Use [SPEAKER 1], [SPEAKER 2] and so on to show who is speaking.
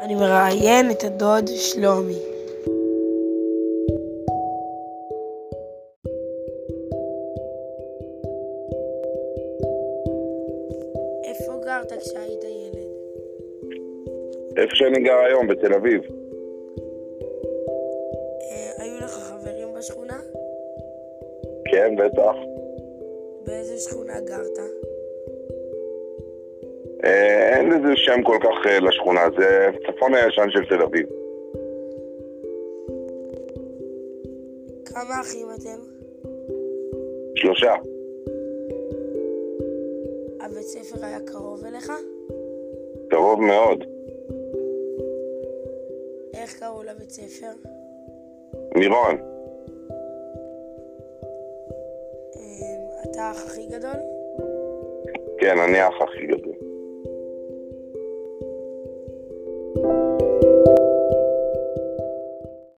[SPEAKER 1] אני מראיין את הדוד שלומי. איפה גרת כשהיית ילד?
[SPEAKER 2] איפה שאני גר היום, בתל אביב.
[SPEAKER 1] אה, היו לך חברים בשכונה?
[SPEAKER 2] כן, בטח.
[SPEAKER 1] באיזה שכונה גרת?
[SPEAKER 2] אה, אין לזה שם כל כך אה, לשכונה, זה צפון הישן של תל אביב.
[SPEAKER 1] כמה אחים אתם?
[SPEAKER 2] שלושה.
[SPEAKER 1] הבית ספר היה קרוב אליך?
[SPEAKER 2] קרוב מאוד.
[SPEAKER 1] איך קראו לבית ספר?
[SPEAKER 2] מירון.
[SPEAKER 1] אה, אתה האח הכי גדול?
[SPEAKER 2] כן, אני האח הכי גדול.